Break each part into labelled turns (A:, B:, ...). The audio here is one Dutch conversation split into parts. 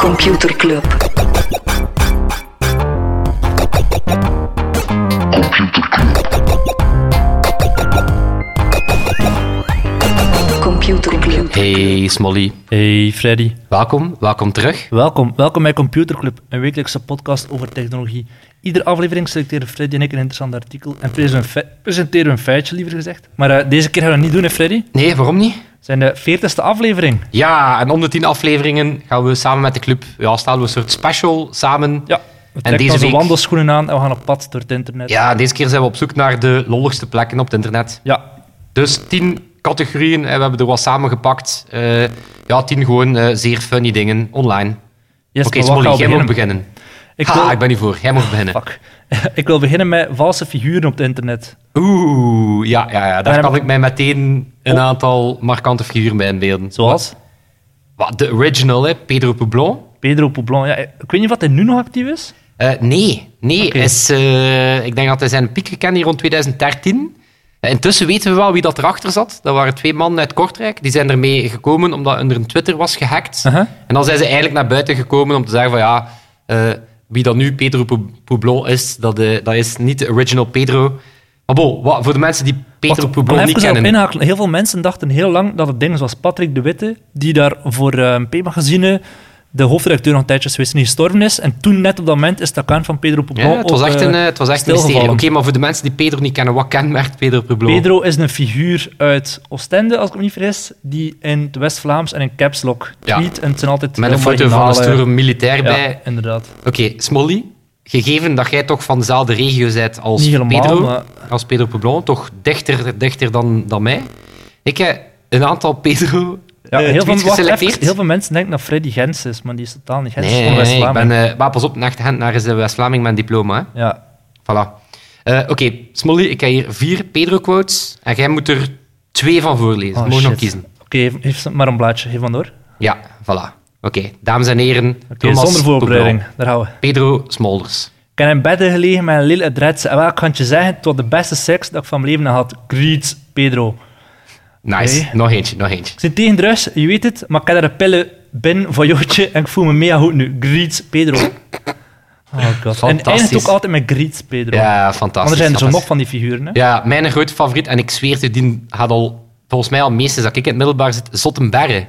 A: Computer Club. Computer Club.
B: Hey Smolly,
C: Hey Freddy,
B: welkom, welkom terug.
C: welkom. Welkom bij Computer Club, een wekelijkse podcast over technologie. Iedere aflevering selecteren Freddy en ik een interessant artikel en presenteren we een fe- presenteren we een feitje, liever gezegd. Maar eh, deze keer gaan we dat niet doen, hè, Freddy?
B: Nee, waarom niet?
C: Het zijn de 40ste aflevering.
B: Ja, en om de tien afleveringen gaan we samen met de club, ja, stellen we een soort special samen.
C: Ja, we trekken
B: deze
C: onze
B: week-
C: wandelschoenen aan en we gaan op pad door het internet.
B: Ja, deze keer zijn we op zoek naar de lolligste plekken op het internet.
C: Ja,
B: Dus tien categorieën en we hebben er wat samengepakt. Eh ja, tien gewoon eh, zeer funny dingen online.
C: yes,
B: Oké,
C: maar waar
B: Smolly,
C: gaan we
B: jij mag beginnen.
C: Ik
B: ha,
C: wil...
B: ik ben niet voor. Jij mag beginnen.
C: Fuck. ik wil beginnen met valse figuren op het internet.
B: Oeh, ja, ja, ja daar
C: heb Oh.
B: kan
C: ik-
B: ik mij meteen een aantal markante figuren bij inbeelden.
C: Zoals
B: Wat, de original, hè, Pedro Poblon.
C: Pedro Poblon. Ja, ik ik weet niet wat hij nu nog actief is.
B: Eh, nee, nee.
C: Oké.
B: Is, eh, ik denk dat hij zijn piek gekend hier rond 2013. Eh, Intussen weten we wel wie dat erachter zat. Dat waren twee mannen uit Kortrijk. Die zijn ermee gekomen omdat hun Twitter was gehackt.
C: Uh-huh.
B: En dan zijn ze eigenlijk naar buiten gekomen om te zeggen van ja, eh, wie dat nu Pedro Pou- Poublon is, dat, eh, dat is niet de original Pedro. Maar bon, wat, voor de mensen die Pedro
C: Wat-
B: Poublon
C: om
B: niet
C: even daarop
B: kennen.
C: inhakelen. Heel veel mensen dachten heel lang dat het ding was Patrick de Witte, die daar voor eh, P-magazine de hoofdredacteur nog een tijdje is geweest en die gestorven is. En toen, net op dat moment, is de account van Pedro Poblon
B: Ja, het was
C: ook,
B: echt
C: eh,
B: een, eh, het was echt een mysterie. Oké,
C: stilgevallen.
B: maar voor de mensen die Pedro niet kennen, wat kenmerkt Pedro Poublon?
C: Pedro is een figuur uit Oostende, als ik me niet vergis, die in het West-Vlaams en in Caps Lock
B: Ja.
C: tweet. En het zijn altijd
B: Met een
C: heel
B: foto van een
C: marginale-
B: stoere militair bij.
C: eh, Ja, inderdaad.
B: Oké, Smolly, gegeven dat jij toch van dezelfde regio bent als
C: Niet helemaal,
B: Pedro,
C: maar-
B: als Pedro Poblon, toch dichter, dichter dan, dan mij. Ik heb een aantal Pedro
C: Ja,
B: eh,
C: heel, veel,
B: tweets
C: wacht,
B: geselecteerd.
C: even, heel veel mensen denken dat Freddy Gens is, maar die is totaal niet Gens. is
B: Nee,
C: gewoon
B: nee, ik
C: West-Vlaming.
B: ben, eh, maar pas op, naar is de West-Vlaming mijn diploma. Hè.
C: Ja,
B: Voilà. Eh, Oké, Smolly, ik heb hier vier Pedro-quotes en jij moet er twee van voorlezen.
C: Oh,
B: Mogen nog
C: shit.
B: kiezen.
C: Oké, geef- geef maar een blaadje. Geef maar door. Oké,
B: Ja, voilà. Oké, dames en heren, Thomas
C: zonder voorbereiding.
B: Poblon.
C: Daar gaan we.
B: Pedro Smolders.
C: Ik heb in bedden gelegen met een lille adresse. En wel, ik kan het je zeggen, het was de beste seks dat ik van mijn leven had. Greets, Pedro.
B: Nice.
C: Oké.
B: Nog eentje, nog eentje.
C: Ik zit tegen drugs, je weet het, maar ik heb daar een pillen binnen van Jootje en ik voel me mega goed nu. Greets, Pedro. Oh god. En het eindigt
B: Fantastisch.
C: ook altijd met Greets, Pedro.
B: Ja, fantastisch.
C: Anders zijn er zo
B: fantastisch.
C: nog van die figuren. Hè?
B: Ja, mijn grote favoriet, en ik zweer het, die had al, volgens mij al meestens dat ik in het middelbaar zit, Zottenberre.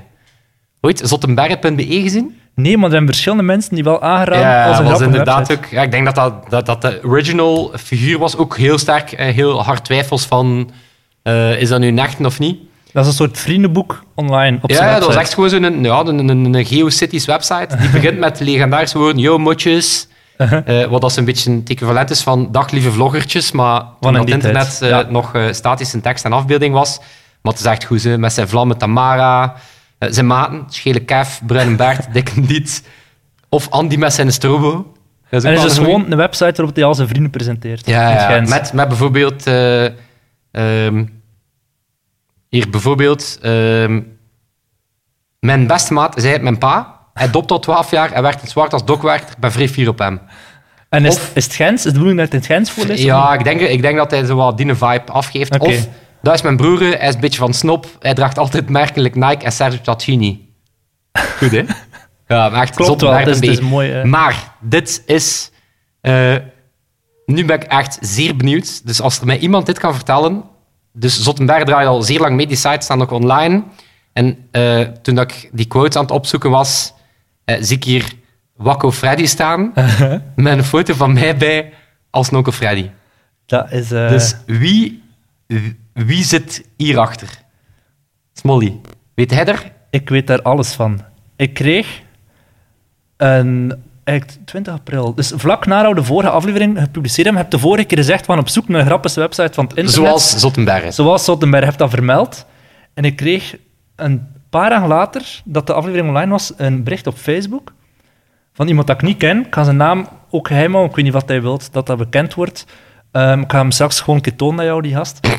B: Ooit zottenberre.be gezien?
C: Nee, maar er zijn verschillende mensen die wel aangeraden als
B: dat
C: een
B: was
C: grappige
B: inderdaad
C: website.
B: ook... Ja, ik denk dat dat, dat dat de original figuur was, ook heel sterk, eh, heel hard twijfels van, eh, is dat nu nachten of niet?
C: Dat is een soort vriendenboek online op
B: Ja,
C: zijn
B: ja, dat
C: website.
B: was echt gewoon zo'n ja, een, een, een, een GeoCities website. Die begint met legendarische woorden, yo motjes.
C: Uh-huh.
B: Eh, wat als een beetje een equivalent is van dag lieve vloggertjes, maar toen
C: in
B: dat
C: die
B: internet
C: tijd,
B: eh,
C: ja.
B: nog eh, statische tekst en afbeelding was. Maar het is echt goed, hè, met zijn vlammen Tamara, eh, zijn maten, schele kef, bruine baard, dikke diet. Of Andy met zijn strobo. Dat ook
C: En er
B: wel
C: is dus
B: een goeie.
C: gewoon een website waarop hij al zijn vrienden presenteert.
B: Ja,
C: In
B: ja,
C: Gent.
B: Met, met bijvoorbeeld... eh, ehm, hier bijvoorbeeld... ehm, mijn beste maat zei het mijn pa. Hij dopte al 12 jaar en werd in zwart als dokwerker. Ik ben vrij fier op hem.
C: En is,
B: Of-
C: is het Gens? Is het de bedoeling dat het in het Gens voor is?
B: Ja, ik denk, ik denk dat hij zo wat die vibe afgeeft.
C: Oké.
B: Of, dat is mijn broer, hij is een beetje van snop. Hij draagt altijd merkelijk Nike en Sergio Tacchini. Goed, hè? Ja, maar echt
C: Klopt
B: zot
C: wel,
B: merk
C: het is-
B: een
C: het is
B: beetje.
C: mooi, hè.
B: Maar dit is... eh, nu ben ik echt zeer benieuwd. Dus als er mij iemand dit kan vertellen... Dus Zottenberg draait al zeer lang mee. Die sites staan ook online. En eh, toen dat ik die quotes aan het opzoeken was, eh, zie ik hier Wakko Freddy staan.
C: Eh.
B: met een foto van mij bij als Nokko Freddy.
C: Dat is... eh,
B: Dus wie, wie zit hierachter? Smolly, weet hij er?
C: Ik weet daar alles van. Ik kreeg een... Eigenlijk 20 april. Dus vlak na we de vorige aflevering gepubliceerd hebben, heb je de vorige keer gezegd van op zoek naar een grappige website van het internet.
B: Zoals Zottenberg.
C: Zoals Zottenberg heeft dat vermeld. En ik kreeg een paar dagen later, dat de aflevering online was, een bericht op Facebook van iemand dat ik niet ken. Ik ga zijn naam ook geheim houden. Ik weet niet wat hij wilt, dat dat bekend wordt. Ehm, ik ga hem straks gewoon een keer tonen aan jou, die gast.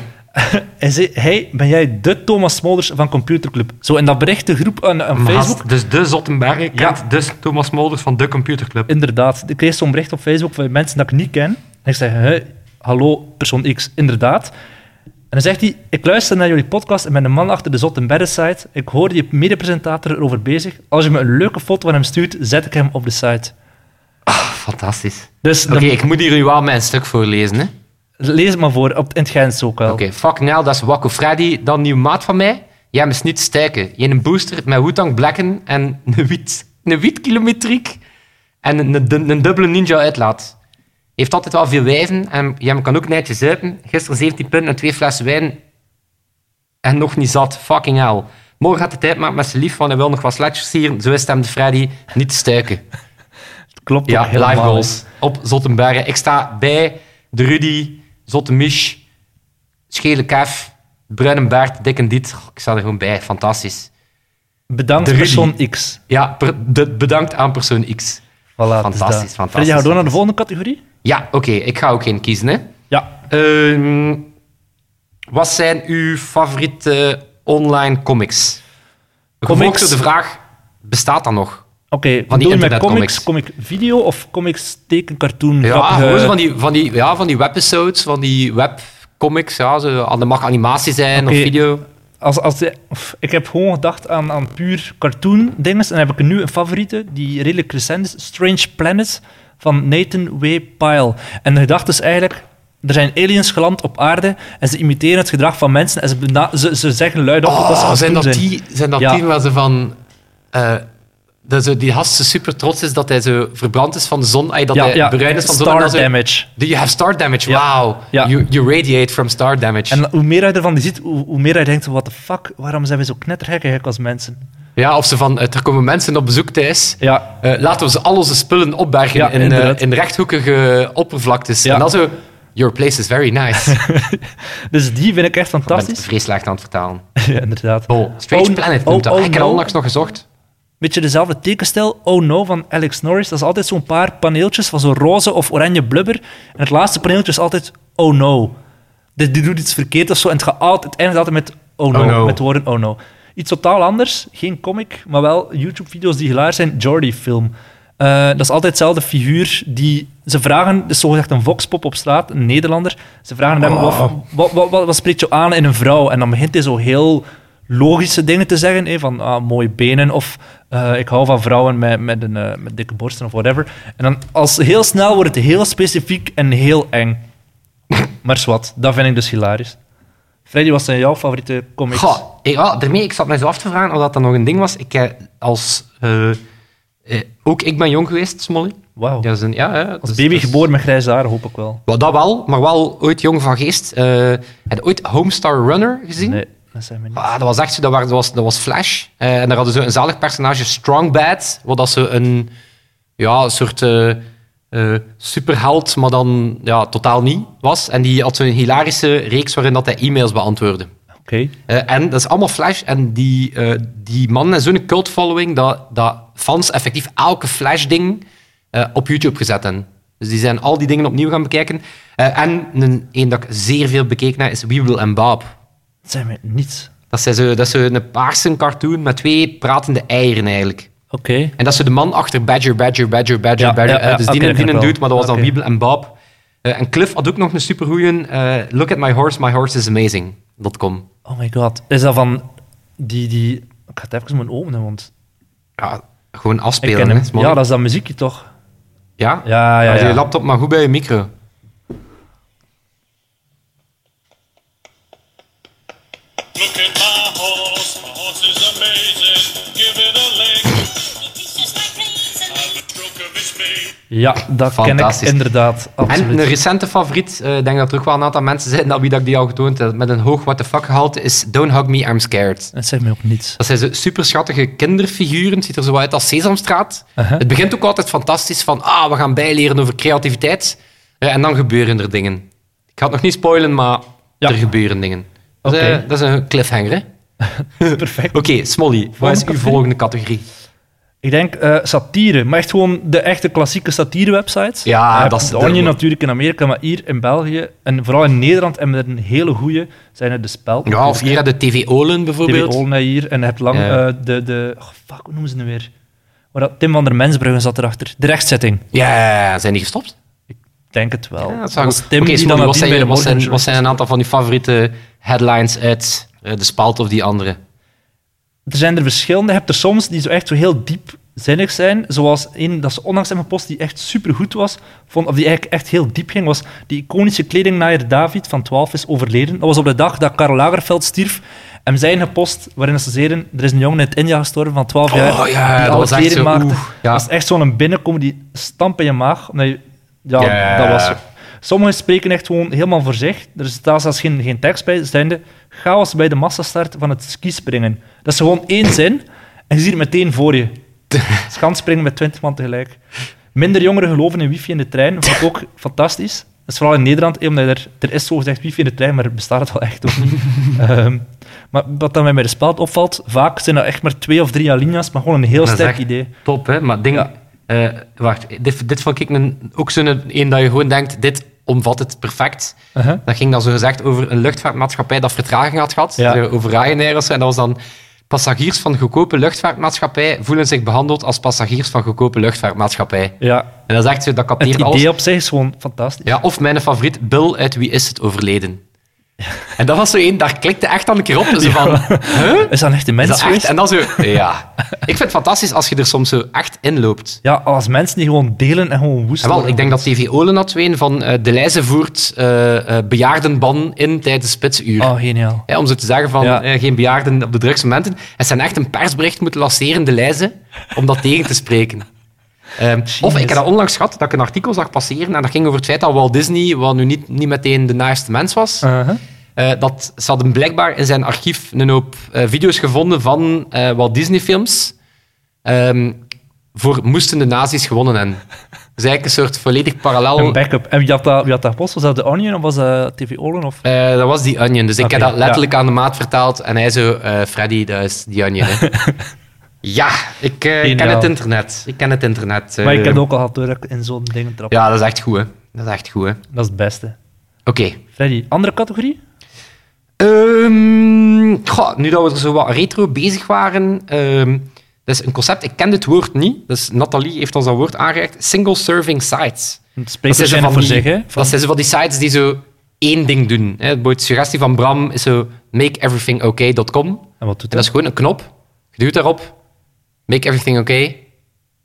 C: hij zei, hey, ben jij de Thomas Smolders van Computerclub? Zo in dat bericht, de groep aan, aan Facebook.
B: dus de Zottenberg
C: kent
B: dus Thomas Molders van de computerclub.
C: Inderdaad. Ik kreeg zo'n bericht op Facebook van mensen dat ik niet ken. En ik zeg, hè, hallo, persoon X, inderdaad. dan zegt hij, ik luister naar jullie podcast en ben de man achter de Zot en Bedden site. Ik hoor die medepresentator erover bezig. Als je me een leuke foto van hem stuurt, zet ik hem op de site.
B: Fantastisch.
C: Dus
B: Oké,
C: dan-
B: ik moet hier nu wel mijn stuk voorlezen. Hè?
C: lees het maar voor, op, in het Gens ook wel.
B: Oké, fuck now, dat is Wakko Freddy. Dan nieuw maat van mij. Jij moest niet stijken. Je een booster met Wu-Tang Blacken en een wit, een wit kilometriek en een, een, een dubbele ninja uitlaat. Heeft altijd wel veel wijven en jij kan ook netjes zuipen. Gisteren 17 punten en twee flessen wijn en nog niet zat. Fucking hell. Morgen gaat de tijd maken met zijn lief, want hij wil nog wat sletjes hier. Zo is het hem de Freddy niet stuiken.
C: Klopt
B: Ja,
C: ook helemaal.
B: live goals op Zottenbergen. Ik sta bij de Rudy, Zottemich, Schele Kef, Bruine Baard, Dick en Diet. Goh, Ik sta er gewoon bij, fantastisch.
C: Bedankt
B: De Rudy.
C: persoon X.
B: Ja, per- de- bedankt aan persoon X.
C: Voilà, het is dat.
B: Fantastisch, fantastisch.
C: Freddy, gaan we door naar de volgende categorie?
B: Ja, oké, ik ga ook geen kiezen. Hè.
C: Ja.
B: Ehm, wat zijn uw favoriete online comics?
C: Comics?
B: Comics? de vraag, bestaat dat nog?
C: Oké,
B: Van die
C: wat doe je met
B: internetcomics.
C: comics? Comic video of comics teken, cartoon?
B: Ja,
C: grappige-
B: gewoon zo van die, van die, ja, van die webepisodes, van die webcomics. Ja, zo, dat mag animatie zijn
C: Oké.
B: of video.
C: Eh, Als, als de- of, ik heb gewoon gedacht aan, aan puur cartoon dinges. En dan heb ik nu een favoriete, die redelijk recent is. Strange Planet van Nathan W. Pyle. En de gedachte is eigenlijk... Er zijn aliens geland op aarde en ze imiteren het gedrag van mensen en ze, bena- ze, ze zeggen luidop dat ze aan
B: Oh,
C: het
B: zijn
C: doen
B: dat die, zijn dat
C: Ja.
B: die waar ze van... eh, dat zo, die gast zo super trots is dat hij zo verbrand is van de zon. ay, dat
C: Ja,
B: hij
C: ja,
B: bruin is van de zon. en
C: star
B: dan zo-
C: damage.
B: Do you have star damage?
C: Ja.
B: Wow.
C: Ja.
B: You, you radiate from star damage.
C: En hoe meer je ervan ziet, hoe, hoe meer je denkt, what the fuck, waarom zijn we zo knettergek eigenlijk als mensen?
B: ja, of ze van, eh, er komen mensen op bezoek thuis.
C: Ja,
B: Eh, laten we ze al onze spullen opbergen
C: Ja,
B: in, eh,
C: inderdaad.
B: in rechthoekige oppervlaktes.
C: Ja.
B: En dan zo... Your place is very nice. Ik
C: dus die vind ik echt
B: ben
C: fantastisch.
B: vrij slecht aan het vertalen.
C: Ja, inderdaad.
B: Oh, Strange
C: Oh,
B: Planet noemt
C: oh,
B: dat.
C: oh,
B: ik heb dat
C: no.
B: onlangs nog gezocht.
C: Beetje dezelfde tekenstijl, Oh No, van Alex Norris. Dat is altijd zo'n paar paneeltjes van zo'n roze of oranje blubber. En het laatste paneeltje is altijd Oh No. Dit, die doet iets verkeerd of zo. En het, gaat altijd, het eindigt altijd met Oh No,
B: Oh no.
C: met de woorden Oh No. Iets totaal anders, geen comic, maar wel YouTube-video's die gelaar zijn. Jordy-film. Eh, dat is altijd dezelfde figuur die... Ze vragen, dus zogezegd een voxpop op straat, een Nederlander. Ze vragen hem, wat, wat, wat, wat, wat spreekt jou aan in een vrouw? En dan begint hij zo heel logische dingen te zeggen. hè, van ah, mooie benen of eh, ik hou van vrouwen met, met, een, eh, met dikke borsten of whatever. En dan als, heel snel wordt het heel specifiek en heel eng. maar zwart, dat vind ik dus hilarisch. Freddy, wat zijn jouw favoriete comics?
B: Goh, ik, wel, daarmee, ik zat mij zo af te vragen of dat dan nog een ding was. Ik eh, als... eh, eh, ook ik ben jong geweest, Smolly.
C: Wauw.
B: Dat is een, ja, hè,
C: Oh. Als
B: dus-
C: baby
B: dus-
C: geboren met grijze haar, hoop ik wel.
B: Wel, dat wel, maar wel ooit jong van geest. Eh, heb je ooit Homestar Runner gezien?
C: Nee, dat zijn we niet.
B: Ah, dat was echt zo, dat, waren- dat was, dat was Flash. Eh, en daar hadden ze een zalig personage, Strongbad, wat dat ze een ja, een soort eh, eh, superheld, maar dan ja, totaal niet was. En die had zo'n hilarische reeks waarin dat hij e-mails beantwoordde.
C: Ah, Oké.
B: Eh, en dat is allemaal Flash. En die, eh, die man heeft zo'n cult-following dat, dat fans effectief elke Flash-ding eh, op YouTube gezet hebben. Dus die zijn al die dingen opnieuw gaan bekijken. Eh, en een, een dat ik zeer veel bekeken heb, is Weeble en Bob.
C: Dat zijn we niet.
B: Dat is, zo, dat is zo een paarse cartoon met twee pratende eieren eigenlijk.
C: Oké.
B: En dat is zo de man achter Badger, Badger, Badger, Badger,
C: Ja,
B: Badger.
C: ja, ja.
B: Eh, dus
C: Oké,
B: die
C: dat
B: en die
C: ken
B: en
C: ik wel.
B: dude, maar dat was dan
C: Oké.
B: Wiebel en Bob. Eh, en Cliff had ook nog een supergoeie. eh Look at my horse, my horse is amazing.com.
C: Oh my god. Is dat van die... die... Ik ga het even moeten openen, want
B: Ja, gewoon
C: ik
B: afspelen.
C: ken
B: hè,
C: hem.
B: is
C: Ja,
B: mogelijk.
C: dat is dat muziekje toch?
B: Ja?
C: Ja, ja,
B: Als je
C: ja.
B: laptop maar goed bij je micro.
A: Look at my horse, my horse is amazing. Give it a lick. I'm a stroke of its mane.
C: Ja, dat ken ik
B: Fantastisch.
C: inderdaad.
B: En
C: Absoluut.
B: een recente favoriet, eh, ik denk dat er ook wel een aantal mensen zijn dat wie dat ik die al getoond heb, met een hoog what the fuck gehalte, is Don't Hug Me, I'm Scared.
C: Dat zegt mij ook niets.
B: Dat zijn zo super schattige kinderfiguren. Het ziet er zo uit als Sesamstraat.
C: Uh-huh.
B: Het begint ook altijd fantastisch van, ah, we gaan bijleren over creativiteit. Eh, en dan gebeuren er dingen. Ik ga het nog niet spoilen, maar
C: Ja.
B: er gebeuren dingen. Dat, is,
C: Oké.
B: eh, dat is een cliffhanger, hè?
C: Perfect.
B: Oké, Smolly, wat is uw
C: categorie?
B: volgende categorie?
C: Ik denk eh, satire, maar echt gewoon de echte klassieke satire-websites.
B: Ja,
C: Je hebt
B: dat is-
C: de Onion natuurlijk in Amerika, maar hier in België en vooral in Nederland hebben we er een hele goede. Zijn er de spel?
B: Ja, of hier had de TV Olen bijvoorbeeld.
C: TV Olna hier en je hebt lang
B: Ja.
C: eh, de, de oh, fuck, hoe noemen ze het nu weer? Waar dat Tim van der Mensbruggen zat erachter. De rechtzetting.
B: Ja, zijn die gestopt?
C: denk het wel.
B: Ja, dat zou
C: Als
B: goed.
C: Tim
B: Oké,
C: die
B: Smolly,
C: dan
B: wat,
C: nadien bij de
B: zijn, wat, zijn,
C: Morgenjournal-
B: wat zijn een aantal van je favoriete headlines uit eh, de spalt of die andere?
C: Er zijn er verschillende. Je hebt er soms die zo echt zo heel diepzinnig zijn. Zoals één dat ze onlangs hebben gepost die echt supergoed was. Vond, of die eigenlijk echt heel diep ging. Was die iconische kledingnaaier David van 12 is overleden. Dat was op de dag dat Karel Lagerfeld stierf. En zijn gepost waarin ze zeiden: er is een jongen uit India gestorven van 12 jaar.
B: Oh, ja,
C: die
B: dat
C: alle
B: was echt
C: kleding
B: zo,
C: maakte.
B: oeh, ja.
C: Dat is echt zo'n binnenkomen die stamp in je maag. omdat je- ja,
B: Ja.
C: dat was zo. Sommigen spreken echt gewoon helemaal voor zich. Er staat zelfs geen, geen tekst bij. Zijnde chaos bij de massastart van het skispringen. Dat is gewoon één zin en je ziet het meteen voor je. Schanspringen met 20 man tegelijk. Minder jongeren geloven in wifi in de trein. Vond ik ook fantastisch. Dat is vooral in Nederland, eh, omdat er, er is zogezegd wifi in de trein, maar het bestaat het wel echt ook niet. Ehm, maar wat dan mij bij de speld opvalt, vaak zijn dat echt maar twee of drie alinea's, maar gewoon een heel
B: Dat is
C: sterk
B: echt
C: idee.
B: Top, hè? Maar ding,
C: Ja.
B: eh, wacht, dit, dit vond ik een, ook zo'n een dat je gewoon denkt, dit omvat het perfect.
C: Uh-huh.
B: Dat ging dan zo gezegd over een luchtvaartmaatschappij dat vertraging had gehad,
C: Ja.
B: zo over Ryanair of zo. En dat was dan, passagiers van goedkope luchtvaartmaatschappij voelen zich behandeld als passagiers van goedkope luchtvaartmaatschappij.
C: Ja,
B: En dat is echt zo, dat
C: het
B: capteert
C: idee
B: alles.
C: op zich is gewoon fantastisch.
B: Ja, of mijn favoriet, Bill uit Wie is het overleden? En dat was zo één, daar klikte echt dan een keer op. Zo van, huh?
C: Is dat echt een
B: Is
C: mens
B: dat echt?
C: geweest?
B: En dan zo, ja. Ik vind het fantastisch als je er soms zo echt in loopt.
C: Ja, als mensen die gewoon delen en gewoon woest
B: Ja, wel,
C: worden.
B: ik denk dat TV Olen had ween van eh, de lijzen voert eh, eh, bejaardenban in tijdens spitsuur.
C: Oh, geniaal.
B: Ja, om zo te zeggen van
C: Ja.
B: eh, geen bejaarden op de drukste momenten. En ze hebben echt een persbericht moeten lanceren, de lijzen, om dat tegen te spreken. Ehm, of ik heb dat onlangs gehad, dat ik een artikel zag passeren en dat ging over het feit dat Walt Disney, wat nu niet, niet meteen de naaiste mens was,
C: Uh-huh.
B: eh, dat ze hadden blijkbaar in zijn archief een hoop eh, video's gevonden van eh, Walt Disney-films. ehm, voor moesten de nazi's gewonnen hebben. Dus eigenlijk een soort volledig parallel.
C: Een backup. En wie had dat, wie had dat gepost? Was dat The Onion of was dat TV Olen? Of...
B: Eh, dat was die Onion. Dus ik
C: Oké,
B: heb dat letterlijk aan de maat vertaald. En hij zo, eh, Freddy, dat is die Onion. Hè. ja, ik eh, ken
C: Geniaal.
B: het internet. Ik ken het internet. eh.
C: maar ik heb ook al gehad door dat ik in zo'n dingen trap.
B: Ja, dat is echt goed, hè. Dat is echt goed, hè. Oké.
C: Dat is het beste. Freddy, andere categorie?
B: Ehm, goh, nu dat we er zo wat retro bezig waren. ehm dat is een concept, ik ken dit woord niet. Dus Nathalie heeft ons dat woord aangereikt. Single serving sites.
C: Het spreekt
B: Dat zijn
C: waarschijnlijk voor
B: zo
C: zich,
B: van die-
C: hè? Van-
B: Dat zijn zo van die sites die zo één ding doen. Hè. Bijvoorbeeld De suggestie van Bram is zo makeeverythingokay.com.
C: En wat doet
B: En dat is
C: dat?
B: gewoon een knop. Je duwt daarop. Make everything okay.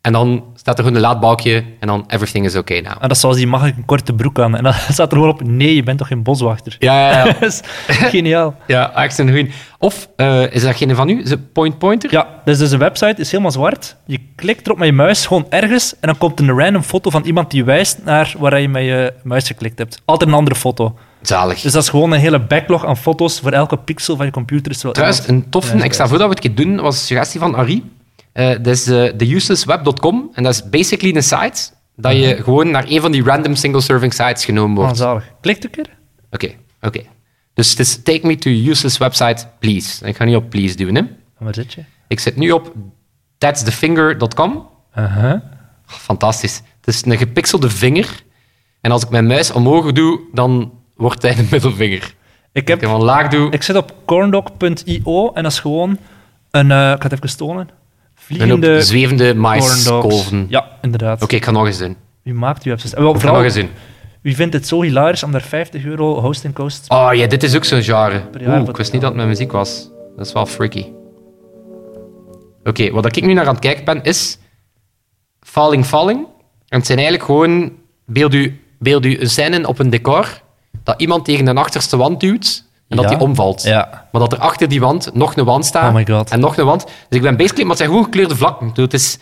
B: En dan staat er gewoon een laadbalkje. En dan everything is okay now.
C: En Ah, dat is zoals die mag ik een korte broek aan. En dan staat er gewoon op, nee, je bent toch geen boswachter?
B: Ja, ja, ja.
C: Dat is geniaal.
B: ja echt een goeie. Of eh, is dat geen van u? Is het Point Pointer?
C: Ja, dus, dus een website is helemaal zwart. Je klikt erop met je muis, gewoon ergens, en dan komt een random foto van iemand die wijst naar waar je met je muis geklikt hebt. Altijd een andere foto.
B: Zalig.
C: Dus dat is gewoon een hele backlog aan foto's. Voor elke pixel van je computer is er wel
B: Trouwens,
C: iemand.
B: een toffe,
C: Ja,
B: ik stel voor dat we het een keer doen, was een suggestie van Arie. Eh, dat is eh, theuselessweb.com. En dat is basically een site dat je gewoon naar een van die random single-serving sites genomen wordt.
C: Ah, zalig. Klikt een keer.
B: Oké, oké. Dus het is take me to useless website, please. En ik ga nu op please doen, hè.
C: En waar zit je?
B: Ik zit nu op thatsthefinger.com.
C: Uh-huh.
B: Fantastisch. Het is een gepixelde vinger. En als ik mijn muis omhoog doe, dan wordt hij de middelvinger.
C: Ik,
B: Als ik
C: heb,
B: hem omlaag doe,
C: ik zit op corndog.io en dat is gewoon een... eh, ik ga het even tonen.
B: een hoop
C: Vliegende
B: zwevende
C: corndogs.
B: maiskolven. Oké,
C: Ja, inderdaad.
B: ik ga nog eens doen.
C: Wie maakt die websites? En wel,
B: Ik ga nog
C: vooral,
B: eens doen.
C: wie vindt het zo hilarisch om daar 50 euro hosting kost?
B: Oh ja, dit is ook zo'n genre.
C: Per jaar
B: Oeh,
C: wat-
B: ik wist niet dat het met muziek was. Dat is wel freaky. Oké, wat ik nu naar aan het kijken ben is Falling Falling. En het zijn eigenlijk gewoon, beeld u, beeld u een scène op een decor, dat iemand tegen de achterste wand duwt en dat
C: Ja.
B: die omvalt.
C: Ja.
B: Maar dat er achter die wand nog een wand staat.
C: Oh my God.
B: En nog een wand. Dus ik ben basically, maar het zijn gewoon gekleurde vlakken. Ik bedoel, het is,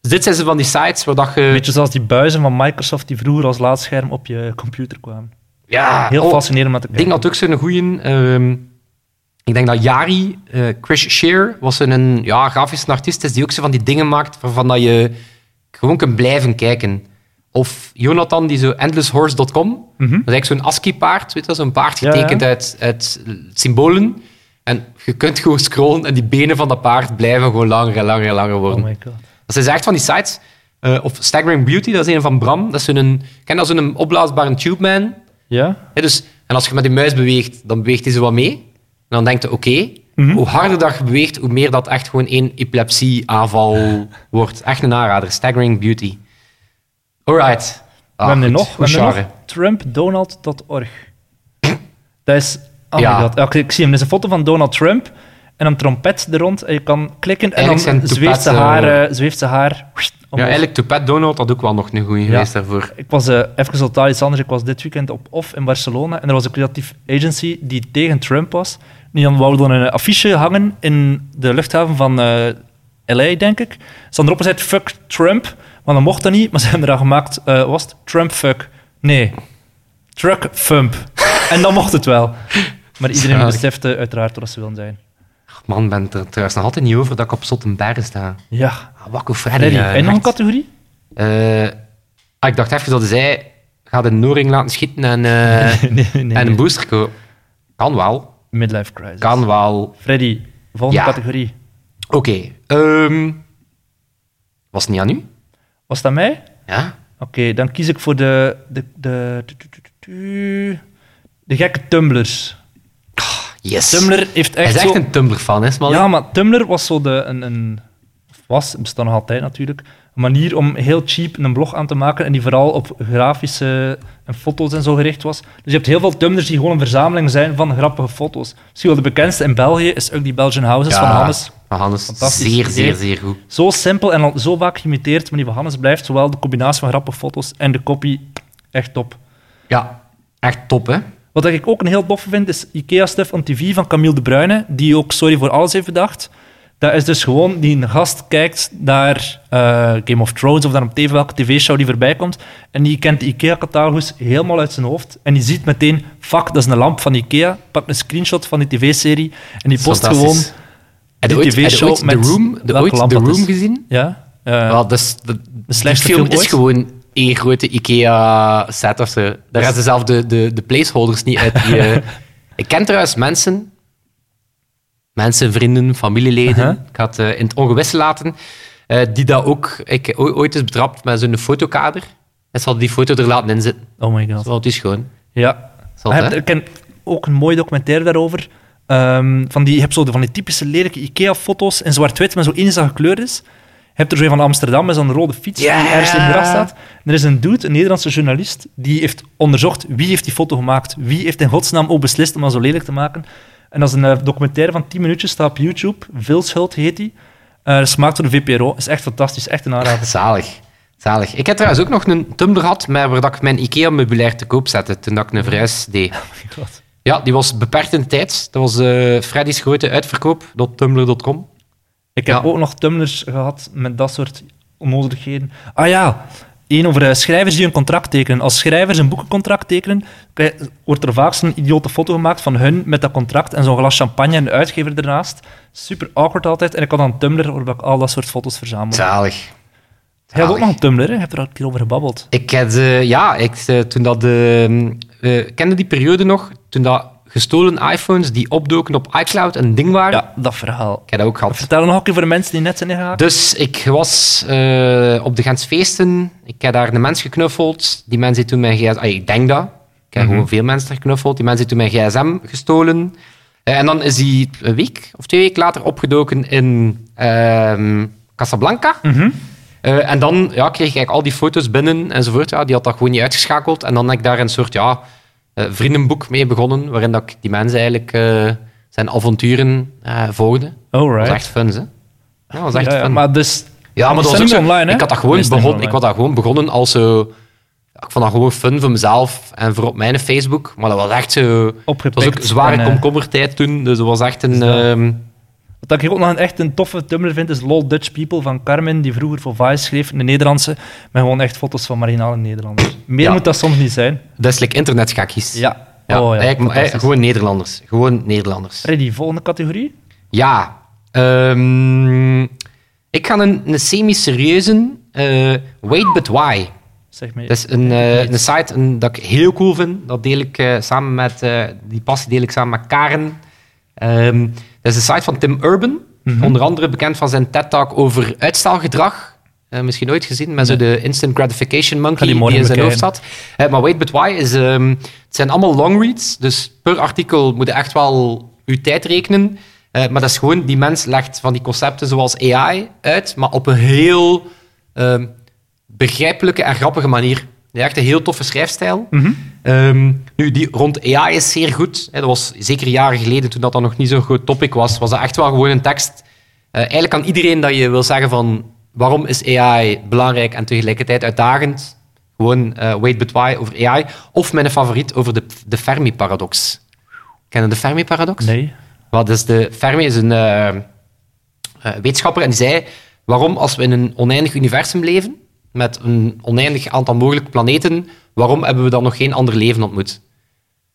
B: dus dit zijn ze van die sites waar dat je...
C: Beetje zoals die buizen van Microsoft die vroeger als laadscherm op je computer kwamen.
B: Ja,
C: Ah, Heel
B: oh,
C: fascinerend om te
B: Ik denk
C: kijken.
B: dat ook zo'n goeie... ehm, ik denk dat Jari, eh, Chris Shear, was een ja, grafisch artiest is die ook zo van die dingen maakt waarvan dat je gewoon kunt blijven kijken. Of Jonathan, die zo endlesshorse.com. Dat is eigenlijk zo'n ASCII-paard, weet je wel, zo'n paard
C: Mhm. Ja, ja.
B: getekend Uit, uit symbolen. En je kunt gewoon scrollen en die benen van dat paard blijven gewoon langer en langer en langer worden.
C: Oh my god.
B: Dat zijn echt van die sites. Eh, of Staggering Beauty, dat is een van Bram. Dat is zo'n, ken je dat zo'n opblaasbare tube man?
C: Ja?
B: Hè, dus, en als je met die muis beweegt, dan beweegt hij zo wat mee. En dan denkt je, oké,
C: Mhm.
B: hoe harder dat je beweegt, hoe meer dat echt gewoon één epilepsieaanval wordt. Echt een aanrader. Staggering Beauty. Alright. Ah,
C: we hebben
B: goed.
C: er nog, we
B: Goed
C: hebben er
B: genre.
C: nog trumpdonald.org. dat is... Oh
B: Ja.
C: my god. Ja, ik, ik zie hem. Dat is een foto van Donald Trump en een trompet er rond. En je kan klikken en
B: Eigenlijk
C: dan
B: zijn
C: zweeft ze
B: toepassen-
C: haar... eh, zweeft ze haar
B: Ja,
C: omhoog.
B: eigenlijk Toupet Donald had ook wel nog een goeie geweest daarvoor.
C: Ik was eh, even totaal iets anders. Ik was dit weekend op OFF in Barcelona en er was een creatief agency die tegen Trump was. Die dan wou dan een affiche hangen in de luchthaven van eh, LA, denk ik. Ze hadden erop gezet, fuck Trump. Maar dat mocht dat niet, maar ze hebben eraan gemaakt, eh, wat was het? Trump fuck. Nee. Truck fump. en dan mocht het wel. Maar iedereen
B: Zalig.
C: besefte uiteraard wat ze wilden zijn.
B: Man, ben er trouwens nog altijd niet over dat ik op Zottenberg sta.
C: Ja.
B: Ah, Wakko Freddy.
C: Freddy,
B: eh,
C: heb je nog een
B: echt.
C: categorie?
B: Eh, ah, ik dacht even dat zij gaat een Noring laten schieten en, eh,
C: nee, nee.
B: en een
C: nee.
B: booster kopen. Kan wel.
C: Midlife crisis.
B: Kan wel.
C: Freddy, volgende
B: Ja.
C: categorie.
B: Oké. ehm, was het niet aan u?
C: Was dat mij?
B: Ja?
C: Oké, dan kies ik voor de. de, de, tu- tu- tu- tu- tu- de gekke tumblers.
B: Yes.
C: Tumblr heeft
B: Hij
C: echt.
B: is echt
C: zo-
B: een Tumblr-fan, hè, Smalling?
C: Ja, maar Tumblr was zo de. Een, een, of was, het bestaat nog altijd natuurlijk. Een manier om heel cheap een blog aan te maken. En die vooral op grafische en foto's en zo gericht was. Dus je hebt heel veel Tumblrs die gewoon een verzameling zijn van grappige foto's. Misschien wel de bekendste in België is ook die Belgian Houses van
B: Ja,
C: Hannes.
B: Van Hannes.
C: Fantastisch
B: Zeer,
C: idee.
B: zeer, zeer goed.
C: Zo simpel en al zo vaak geïmiteerd. Maar die van Hannes blijft zowel de combinatie van grappige foto's en de copy echt top.
B: Ja, echt top, hè?
C: Wat ik ook een heel doffe vind, is IKEA-stuff on TV van Camille de Bruyne, die ook Sorry voor Alles heeft bedacht. Dat is dus gewoon die een gast kijkt naar eh, Game of Thrones of naar op TV, welke tv-show die voorbij komt. En die kent de IKEA-catalogus helemaal uit zijn hoofd. En die ziet meteen, fuck, dat is een lamp van IKEA. Pak een screenshot van die tv-serie en die post gewoon...
B: Fantastisch. Heb je
C: die
B: ooit, heb je
C: TV-show
B: ooit The
C: met
B: Room, de,
C: welke
B: ooit
C: lamp
B: The
C: dat
B: Room
C: is.
B: gezien?
C: Ja? eh,
B: Wel, dat is, dat, die
C: slechtste
B: film
C: film
B: is
C: ooit?
B: gewoon één grote IKEA-set of zo. Daar gaan ze zelf de, de, de placeholders niet uit. Die, eh, ik ken trouwens mensen, mensen, vrienden, familieleden,
C: Uh-huh.
B: ik had eh, in het ongewisse laten, eh, die dat ook ik, o- ooit is betrapt met zo'n fotokader. En ze hadden die foto er laten inzitten.
C: oh my god.
B: Dat is dus schoon.
C: Ja.
B: Zot,
C: Ah,
B: hè?
C: ik ken ook een mooi documentaire daarover. Ehm, van die, je hebt zo de- van die typische lelijke IKEA-foto's in zwart-wit, maar zo één dat gekleurd is. Je hebt er zo een van Amsterdam met zo'n rode fiets die
B: Ja.
C: ergens in de gracht staat. En er is een dude, een Nederlandse journalist, die heeft onderzocht wie heeft die foto gemaakt. Wie heeft in godsnaam ook beslist om dat zo lelijk te maken. En dat is een eh, documentaire van 10 minuutjes, staat op YouTube. Vilschuld heet die. Eh dat is gemaakt door de VPRO. Is echt fantastisch, echt een aanrader.
B: Zalig. Zalig. Ik heb trouwens ook nog een Tumblr gehad, maar waar dat ik mijn IKEA-meubilair te koop zette toen dat ik een verhuis deed.
C: God.
B: Ja, die was beperkt in tijd. Dat was eh Freddy's grote uitverkoop, .tumblr.com.
C: Ik heb
B: Ja.
C: ook nog tumblers gehad met dat soort onnodigheden. Ah ja, één over eh, schrijvers die een contract tekenen. Als schrijvers een boekencontract tekenen, krijg- wordt er vaak zo'n idiote foto gemaakt van hun met dat contract en zo'n glas champagne en de uitgever ernaast. Super awkward altijd. En ik had dan een Tumblr waarbij ik al dat soort foto's verzamel.
B: Zalig.
C: Jij hebt
B: zalig.
C: ook nog een Tumblr, hè? Je hebt er al een keer over gebabbeld.
B: Ik had, eh, ja, ik, eh, toen dat, eh, eh, kende die periode nog, toen dat gestolen iPhones die opdoken op iCloud een ding waren.
C: Ja, dat verhaal.
B: Ik heb dat ook gehad.
C: Vertel het nog een keer voor de mensen die net zijn ingehaakt.
B: Dus ik was eh, op de Gentsfeesten. Ik heb daar een mens geknuffeld. Die mens heeft toen mijn gsm... ah, ik denk dat. Ik heb gewoon veel mensen daar geknuffeld. Die mens heeft toen mijn gsm gestolen. Eh, en dan is hij een week of twee weken later opgedoken in ehm, Casablanca. Eh, en dan ja, kreeg ik al die foto's binnen enzovoort. Ja, die had dat gewoon niet uitgeschakeld. En dan heb ik daar een soort ja, eh, vriendenboek mee begonnen. Waarin dat ik die mensen eigenlijk eh, zijn avonturen eh, volgde. Dat was
C: Alright.
B: echt fun, hè? Ja, dat was echt
C: Ja, ja,
B: fun.
C: maar dus...
B: Ja, maar
C: Die
B: dat was
C: staan
B: ook
C: niet
B: zo-
C: meer online, hè?
B: Ik had dat
C: Die
B: gewoon
C: staan niet
B: begonnen. Ik
C: meer
B: had dat gewoon begonnen als zo. Ik vond dat gewoon fun voor mezelf en voor op mijn Facebook. Maar dat was echt zo. Het
C: Opgepikt
B: was ook zware
C: en, eh,
B: komkommertijd toen. Dus dat was echt een.
C: dat-
B: ehm,
C: Wat ik ook nog een, echt een toffe Tumblr vind, is Lol Dutch People van Carmen, die vroeger voor Vice schreef, een Nederlandse, met gewoon echt foto's van marginale Nederlanders. Meer
B: Ja.
C: moet dat soms niet zijn.
B: dat is like internetschakjes.
C: Ja.
B: Ja,
C: oh,
B: eigenlijk-
C: ja.
B: maar
C: fantastisch.
B: eigenlijk gewoon Nederlanders. Gewoon Nederlanders.
C: Freddy, volgende categorie?
B: Ja. ehm, ik ga een, een semi-serieuze. eh, wait but why.
C: Zeg maar.
B: Dat is een, eh, een site een, dat ik heel cool vind. Dat deel ik eh, samen met, eh, die passie deel ik samen met Karen. Ehm, dat is een site van Tim Urban.
C: Mhm.
B: Onder andere bekend van zijn TED-talk over uitstelgedrag. Eh, misschien nooit gezien, maar zo de instant gratification monkey
C: die
B: die,
C: morgen
B: in zijn hoofd
C: bekijken.
B: zat. Eh, maar Wait But Why is... ehm, het zijn allemaal long reads, dus per artikel moet je echt wel je tijd rekenen. Eh, maar dat is gewoon, die mens legt van die concepten zoals AI uit, maar op een heel... ehm, begrijpelijke en grappige manier. Die heeft een heel toffe schrijfstijl.
C: Mhm.
B: Ehm, nu, die rond AI is zeer goed. Hè, dat was zeker jaren geleden, toen dat dan nog niet zo'n groot topic was, was dat echt wel gewoon een tekst. eh, eigenlijk aan iedereen dat je wil zeggen van waarom is AI belangrijk en tegelijkertijd uitdagend. Gewoon eh, Wait But Why over AI. Of mijn favoriet over de, de Fermi-paradox. Kennen de Fermi-paradox?
C: Nee.
B: Wat is dus de Fermi is een eh, eh, wetenschapper en die zei waarom als we in een oneindig universum leven met een oneindig aantal mogelijke planeten, waarom hebben we dan nog geen ander leven ontmoet?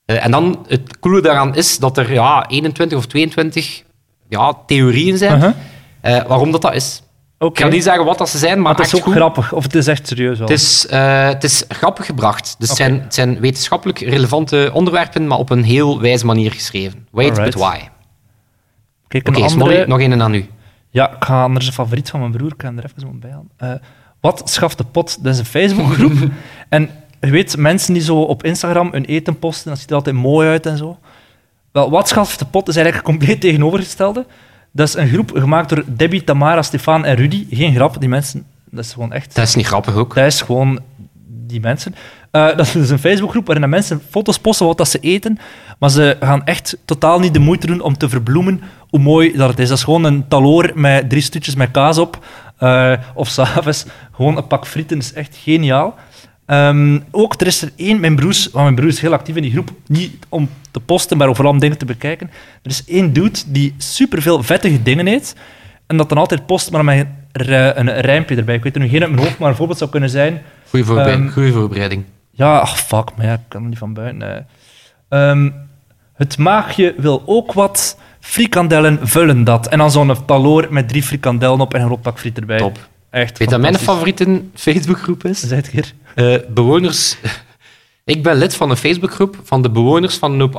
B: Eh, en dan het coole daaraan is dat er ja, 21 of 22 ja, theorieën zijn
C: Uh-huh.
B: eh, waarom dat dat is. Ik
C: Oké.
B: ga niet zeggen wat dat ze zijn, maar
C: Maar het is
B: echt
C: ook
B: goed.
C: grappig. Of het is echt serieus wel.
B: Het is, eh, het is grappig gebracht. Dus
C: Oké.
B: het, zijn, het zijn wetenschappelijk relevante onderwerpen, maar op een heel wijze manier geschreven. Wait,
C: Alright.
B: but why?
C: Kijk, een
B: Oké,
C: andere...
B: Smolly, nog een aan u.
C: Ja, ik ga anders een favoriet van mijn broer, ik ga hem er even moet bijhalen. Eh, wat schaft de pot? Dat is een Facebookgroep. en je weet, mensen die zo op Instagram hun eten posten, dat ziet er altijd mooi uit en zo. Wel, wat schaft de pot is eigenlijk het compleet tegenovergestelde. Dat is een groep gemaakt door Debbie, Tamara, Stefan en Rudy. Geen grap, die mensen, dat is gewoon echt...
B: Dat is niet grappig ook.
C: Dat is gewoon die mensen. Eh, dat is een Facebookgroep waarin de mensen foto's posten wat dat ze eten. Maar ze gaan echt totaal niet de moeite doen om te verbloemen hoe mooi dat het is. Dat is gewoon een taloor met drie stukjes met kaas op. eh, of s'avonds gewoon een pak frieten. Dat is echt geniaal. Ehm, ook, er is er één, mijn broers, want mijn broer is heel actief in die groep, niet om te posten, maar vooral om dingen te bekijken. Er is één dude die superveel vettige dingen eet, en dat dan altijd post, maar met een, r- een rijmpje erbij. Ik weet er nu geen uit mijn hoofd, maar een voorbeeld zou kunnen zijn...
B: Goeie voorbereiding.
C: Ehm,
B: goeie voorbereiding.
C: Ja, ach, fuck, maar ja, ik kan er niet van buiten. eh. Ehm, het maagje wil ook wat. Frikandellen vullen dat. En dan zo'n taloor met drie frikandellen op en een rood pak friet erbij.
B: Top.
C: Echt
B: Weet je dat mijn
C: fantastisch.
B: favoriete Facebookgroep is?
C: Zeg het hier.
B: Eh, bewoners. ik ben lid van een Facebookgroep van de bewoners van een hoop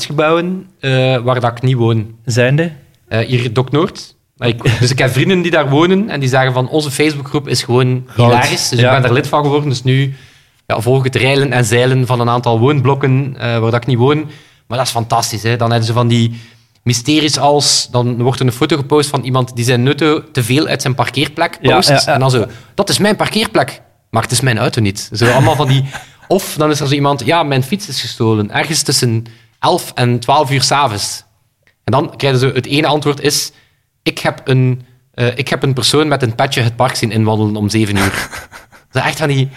B: appartementsgebouwen eh, waar dat ik niet woon.
C: Zijnde?
B: Eh, hier in Dok Noord. Maar ik- dus ik heb vrienden die daar wonen en die zeggen van onze Facebookgroep is gewoon
C: Goud.
B: hilarisch. Dus
C: Ja.
B: ik ben daar lid van geworden. Dus nu ja, volg het reilen en zeilen van een aantal woonblokken eh, waar dat ik niet woon. Maar dat is fantastisch. Hè? Dan hebben ze van die mysteries als... Dan wordt er een foto gepost van iemand die zijn auto te veel uit zijn parkeerplek
C: Ja,
B: post.
C: ja, ja.
B: En dan zo, dat is mijn parkeerplek. Maar het is mijn auto niet. Zo allemaal van die... Of dan is er zo iemand, ja, mijn fiets is gestolen. Ergens tussen 11 en 12 uur s'avonds. En dan krijgen ze het ene antwoord is... Ik heb een, eh, ik heb een persoon met een petje het park zien inwandelen om 7 uur. Dat is echt van die...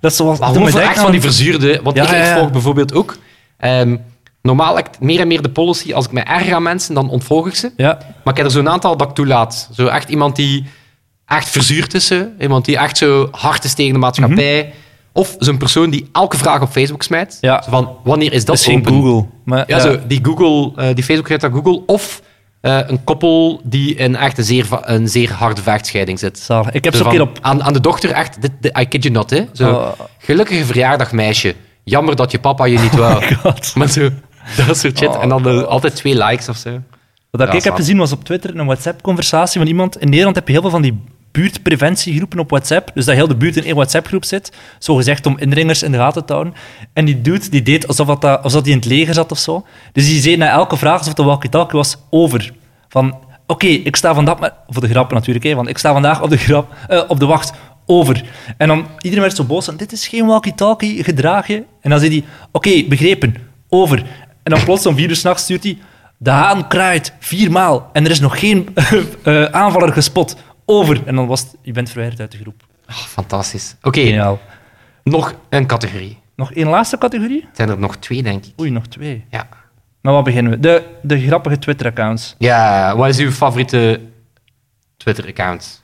C: Dat is zoals...
B: Maar
C: doe me
B: hoeveel
C: denken
B: echt van die verzuurde... Want
C: Ja,
B: ik, ik
C: ja, ja.
B: volg bijvoorbeeld ook... ehm, normaal heb ik meer en meer de policy, als ik me erger aan mensen, dan ontvolg ik ze.
C: Ja,
B: Maar ik heb er zo'n aantal dat ik toelaat. Zo echt iemand die echt verzuurd is. hè. Iemand die echt zo hard is tegen de maatschappij. Of zo'n persoon die elke vraag op Facebook smijt.
C: Ja.
B: Zo van, wanneer is dat
C: dat is geen
B: open?
C: Google. Maar,
B: Ja, Zo, die Google, eh, die Facebook gaat naar Google. Of eh, een koppel die in echt een zeer, va- een zeer harde vechtscheiding zit.
C: zalig. Ik heb
B: Zo
C: ze een
B: van,
C: keer op...
B: aan, aan de dochter echt, dit, dit- I kid you not, hè. Zo,
C: Oh.
B: gelukkige verjaardag, meisje. Jammer dat je papa je niet wou.
C: God.
B: maar zo, dat soort shit.
C: Oh.
B: En dan eh, altijd twee likes of zo.
C: Wat dat
B: Ja,
C: ik heb
B: snap.
C: gezien was op Twitter een WhatsApp-conversatie van iemand. In Nederland heb je heel veel van die buurtpreventiegroepen op WhatsApp. Dus dat heel de buurt in één WhatsApp-groep zit. Zo gezegd om indringers in de gaten te houden. En die dude die deed alsof dat, dat- alsof die in het leger zat of zo. Dus die zei na elke vraag alsof de walkie-talkie was over. Van oké, ik sta vandaag, maar voor de grap natuurlijk, hè, want ik sta vandaag op de, grap, eh, op de wacht over. En dan iedereen werd zo boos van dit is geen walkie-talkie, gedraag je. En dan zei hij oké, begrepen, over. En dan plots om vier uur s'nachts stuurt hij de haan kraait viermaal en er is nog geen eh, aanvaller gespot. Over. En dan was het, je bent verwijderd uit de groep.
B: Ah, fantastisch. Oké,
C: Geniaal.
B: nog een categorie.
C: Nog één laatste categorie?
B: Het zijn er nog twee, denk ik.
C: Oei, nog twee.
B: Ja.
C: Maar waar beginnen we? De, de grappige Twitter-accounts.
B: Ja, wat is uw favoriete Twitter-account?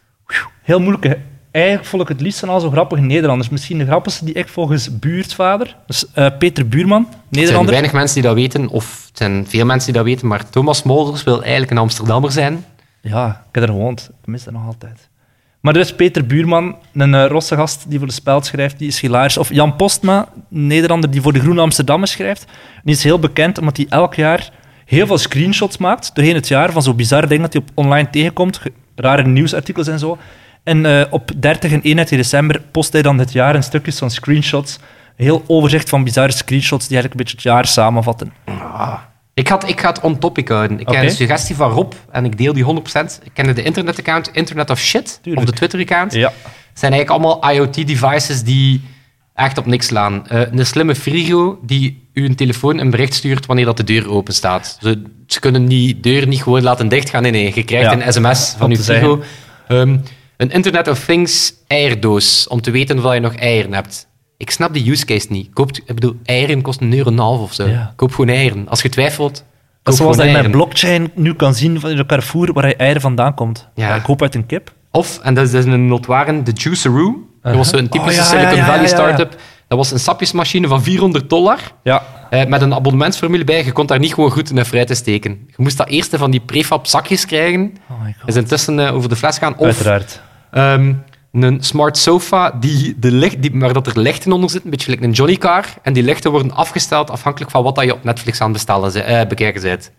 C: Heel moeilijk. hè? Eigenlijk volg ik het liefst van al zo grappige Nederlanders. Misschien de grappigste die ik volgens buurtvader, dus, eh, Peter Buurman,
B: Er zijn
C: Nederlander.
B: weinig mensen die dat weten, of het zijn veel mensen die dat weten, maar Thomas Molders wil eigenlijk een Amsterdammer zijn.
C: Ja, ik heb er gewoond. Ik mis dat nog altijd. Maar er is Peter Buurman, een eh, rosse gast die voor de Speld schrijft, die is hilarisch. Of Jan Postma, een Nederlander die voor de Groene Amsterdammer schrijft. Die is heel bekend omdat hij elk jaar heel veel screenshots maakt doorheen het jaar van zo'n bizarre dingen dat hij op online tegenkomt. ge- Rare nieuwsartikels en zo. En eh, op 30 en 31 december post hij dan dit jaar in stukjes van screenshots. Een heel overzicht van bizarre screenshots die eigenlijk een beetje het jaar samenvatten.
B: Ik had, ik had on topic houden. Ik
C: Oké.
B: heb een suggestie van Rob en ik deel die 100%. Ik kende de internet-account, Internet of Shit,
C: Tuurlijk.
B: of de Twitter-account.
C: Ja.
B: Het zijn eigenlijk allemaal IoT-devices die echt op niks slaan. Eh, een slimme frigo die uw telefoon een bericht stuurt wanneer dat de deur open staat. Ze, ze kunnen die deur niet gewoon laten dichtgaan. Nee, nee, je krijgt
C: Ja.
B: een sms van
C: Om
B: uw
C: te
B: frigo. Ehm, een Internet of Things eierdoos, om te weten of je nog eieren hebt. Ik snap die use case niet. Koop, ik bedoel, eieren kosten een euro en een half of zo.
C: Ja.
B: Koop gewoon eieren. Als je twijfelt, koop
C: Dat is zoals dat je
B: gewoon
C: met
B: eieren.
C: blockchain nu kan zien van in de Carrefour waar je eieren vandaan komt.
B: Ja.
C: Ja. Ik hoop uit een kip.
B: Of, en dat is dus een notwaren, de Juiceroo. Dat was zo'n typische
C: Oh, ja, ja,
B: Silicon
C: ja, ja,
B: Valley
C: ja, ja.
B: startup. Dat was een sapjesmachine van 400 dollar.
C: Ja.
B: eh, met een abonnementsformule bij. Je kon daar niet gewoon goed in en fruit te steken. Je moest dat eerst van die prefab zakjes krijgen.
C: Oh my god.
B: Is intussen eh, over de fles gaan. Of
C: Uiteraard.
B: ehm, een smart sofa die de licht, die, waar dat er lichten onder zitten. Een beetje like een Johnny car. En die lichten worden afgesteld afhankelijk van wat dat je op Netflix aan het bestellen, ze- eh, bekijken bent.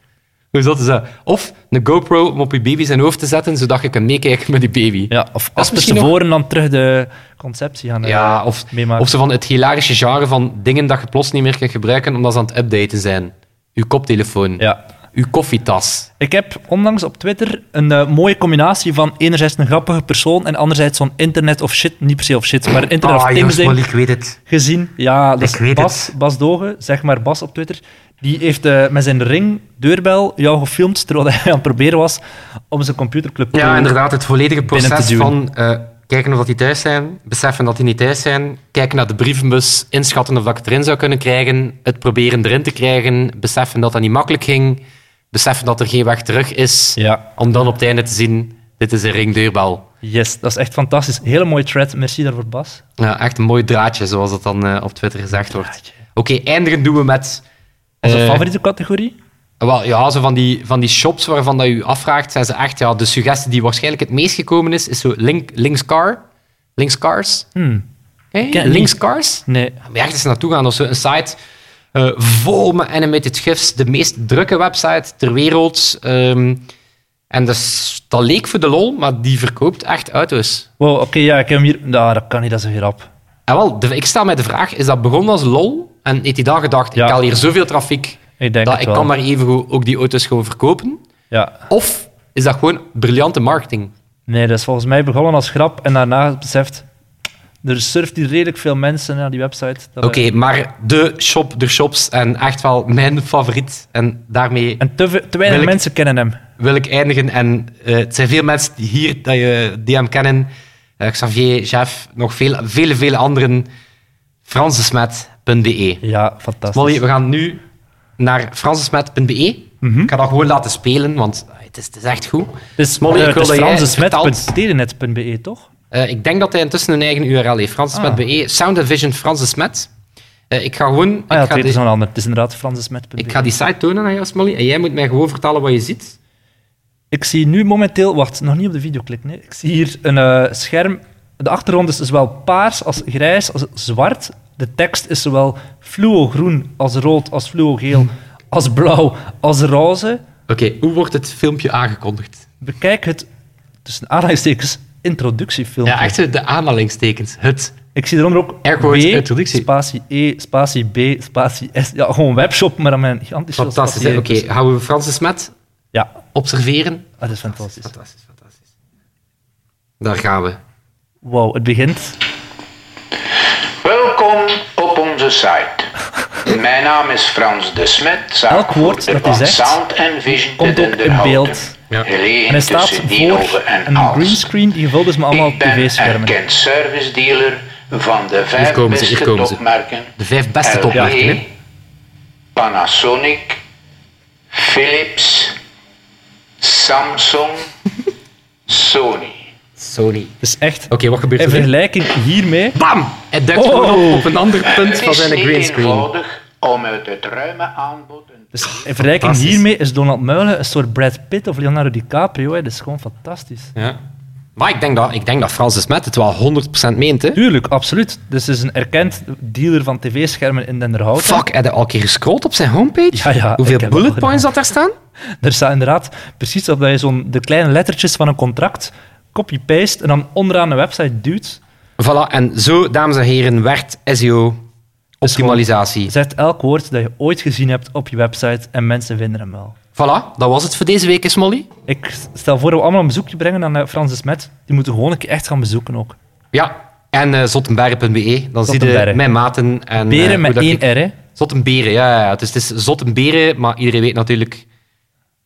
B: Dus dat is dat. Of een GoPro om op je baby zijn hoofd te zetten, zodat je kan meekijken met die baby.
C: Ja, of
B: is
C: als we
B: misschien
C: tevoren dan terug de conceptie gaan eh,
B: Ja, of,
C: meemaken.
B: of zo van het hilarische genre van dingen dat je plots niet meer kunt gebruiken omdat ze aan het updaten zijn. Uw koptelefoon,
C: ja.
B: uw koffietas.
C: Ik heb onlangs op Twitter een eh, mooie combinatie van enerzijds een grappige persoon en anderzijds zo'n internet of shit, niet per se of shit, maar
B: Ah,
C: internet of things ding
B: ik weet het.
C: gezien. Ja, dat
B: weet
C: is Bas, Bas Doge, zeg maar Bas op Twitter. Die heeft eh, met zijn ring, deurbel, jou gefilmd terwijl hij aan het proberen was om zijn computerclub
B: Ja,
C: te-
B: inderdaad, het volledige
C: Binnen
B: proces
C: te duwen.
B: van eh, kijken of dat die thuis zijn, beseffen dat die niet thuis zijn, kijken naar de brievenbus, inschatten of dat ik het erin zou kunnen krijgen, het proberen erin te krijgen, beseffen dat dat niet makkelijk ging, beseffen dat er geen weg terug is,
C: Ja,
B: om dan op het einde te zien, dit is een ringdeurbel.
C: yes, dat is echt fantastisch. Hele mooie thread, merci daarvoor Bas.
B: Ja, echt een mooi draadje, zoals dat dan eh, op Twitter gezegd wordt.
C: Draadje.
B: Oké, eindigen doen we met...
C: Onze
B: eh,
C: favoriete categorie?
B: wel, ja, zo van die, van die shops waarvan dat je je afvraagt, zijn ze echt... Ja, de suggestie die waarschijnlijk het meest gekomen is, is zo link, links car. Links cars.
C: Hmm,
B: Hey,
C: ken het
B: links
C: niet.
B: cars?
C: nee.
B: Ja, maar ergens naartoe gaan. Dat is zo een site eh, vol met animated gifs. De meest drukke website ter wereld. ehm, en dus, dat leek voor de lol, maar die verkoopt echt dus. auto's.
C: Wow, oké, ja, ik heb hem hier... Nou, dat kan niet, dat is een grap.
B: Ah, wel, de- ik stel mij de vraag, is dat begonnen als lol? En heeft hij dan gedacht,
C: Ja.
B: ik haal hier zoveel trafiek,
C: Ik denk
B: dat
C: het
B: ik
C: wel.
B: kan maar even goed ook die auto's gewoon verkopen?
C: Ja,
B: Of is dat gewoon briljante marketing?
C: nee, dat is volgens mij begonnen als grap en daarna beseft... Er surft hier redelijk veel mensen naar die website. Dat, eh,
B: Oké, maar de shop der shops en echt wel mijn favoriet. En daarmee
C: En te, ve- te weinig
B: Wil ik-
C: mensen kennen hem.
B: wil ik eindigen. En eh, het zijn veel mensen die hier dat je, die hem kennen. Eh, Xavier, Jeff, nog veel, vele, vele anderen. Fransesmet.be
C: Ja, fantastisch.
B: Molly, we gaan nu naar fransesmet.be. E.
C: Mhm.
B: Ik ga dat gewoon laten spelen, want ah, het is, het is echt goed.
C: Dus
B: Molly,
C: eh,
B: ik wil
C: het is
B: dat jij
C: fransesmet.telenet.be, E, toch?
B: Eh, ik denk dat hij intussen een eigen URL heeft. Fransesmet.be, E, Sound and Vision Fransesmet. Eh, ik ga gewoon...
C: Ah ja,
B: ik, ga
C: het
B: die,
C: is een ander. Het is inderdaad fransesmet.be.
B: ik
C: Ik,
B: ga die site tonen aan jou, Molly. En jij moet mij gewoon vertellen wat je ziet.
C: zie nu momenteel... Wacht, nog niet op de video klikken. nee. Ik zie hier een eh, scherm. De achtergrond is zowel paars als grijs als zwart. De tekst is zowel fluo-groen als rood als fluo-geel als blauw als roze.
B: Oké, hoe wordt het filmpje aangekondigd?
C: Bekijk het, tussen aanhalingstekens, introductiefilmpje.
B: Ja, echt zo de aanhalingstekens. Het.
C: Ik zie eronder ook
B: Airquotes,
C: B,
B: introductie.
C: spatie E, spatie B, spatie S. Ja, gewoon webshop, maar dan met een gigantische
B: Fantastisch. hè?
C: spatie E.
B: Oké, gaan we Fransesmet
C: Ja,
B: observeren?
C: dat is fantastisch.
B: Fantastisch, fantastisch. Daar gaan we.
C: Wow, het begint.
D: Welkom op onze site. Mijn naam is Frans de Smet,
C: Elk woord dat hij
D: van
C: zegt,
D: Sound en Vision
C: komt
D: te
C: ook in
D: Denderhouten.
C: beeld.
B: Ja.
D: Gelegen
C: En hij staat
D: tussen Nienhoven
C: voor
D: en
C: een
D: Aalst.
C: greenscreen die gevuld is met allemaal
D: Ik ben
C: tv-schermen.
D: erkend service dealer van de vijf
B: komen ze, hier
D: beste
B: komen ze.
D: topmerken.
B: De vijf beste
D: LG,
B: topmerken, hè?
D: Panasonic, Philips, Samsung, Sony.
B: Sony. Oké,
C: Dus echt,
B: wat gebeurt
C: in
B: er? nu?
C: vergelijking hiermee...
B: Bam! Hij duikt
C: Oh!
B: gewoon op, op een ander punt
D: Het
B: van
D: is
B: zijn
D: niet
B: greenscreen.
D: eenvoudig om uit het ruime aanbod een
C: Dus in vergelijking
B: Ah, Fantastisch.
C: hiermee is Donald Muilen een soort Brad Pitt of Leonardo DiCaprio. Hè. Dat is gewoon fantastisch.
B: Ja. Maar ik denk dat, ik denk dat Francis Met het wel 100% meent, hè?
C: Tuurlijk, absoluut. Dus het is een erkend dealer van tv-schermen in Denderhout.
B: Fuck, heb je al een keer gescrollt op zijn homepage?
C: Ja, ja, ik
B: Hoeveel
C: heb dat
B: bullet
C: al gedaan.
B: points dat daar staan?
C: Er staat inderdaad precies dat je zo'n de kleine lettertjes van een contract copy-paste en dan onderaan de website duwt.
B: Voilà, en zo, dames en heren, werkt E SEO-optimalisatie.
C: Zet elk woord dat je ooit gezien hebt op je website en mensen vinden hem wel.
B: Voilà, dat was het voor deze week, is Molly.
C: Ik stel voor dat we allemaal een bezoekje brengen aan eh, Frans de Smet. Die moeten gewoon een keer echt gaan bezoeken ook.
B: Ja, En eh zottenberen.be. Dan zie je
C: Zottenberen.
B: mijn maten. En, eh,
C: Beren
B: hoe
C: met
B: dat
C: één
B: ik-
C: R, hè.
B: Zottenberen, ja, ja, ja. Dus het is Zottenberen, maar iedereen weet natuurlijk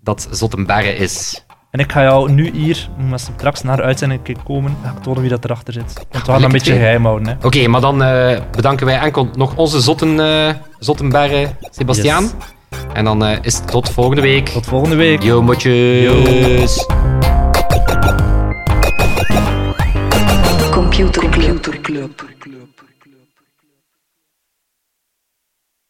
B: dat Zottenberen is.
C: En ik ga jou nu hier, omdat ze straks naar de uitzending een keer komen, ga ik tonen wie dat erachter zit. Want we gaan dat een beetje
B: twee.
C: geheim houden, hè.
B: Oké, maar dan eh, bedanken wij enkel nog onze zotten, eh Zottenberen, Sebastiaan.
C: Yes.
B: En dan eh, is het tot volgende week.
C: Tot volgende week.
B: Yo, motjes.
C: Yo.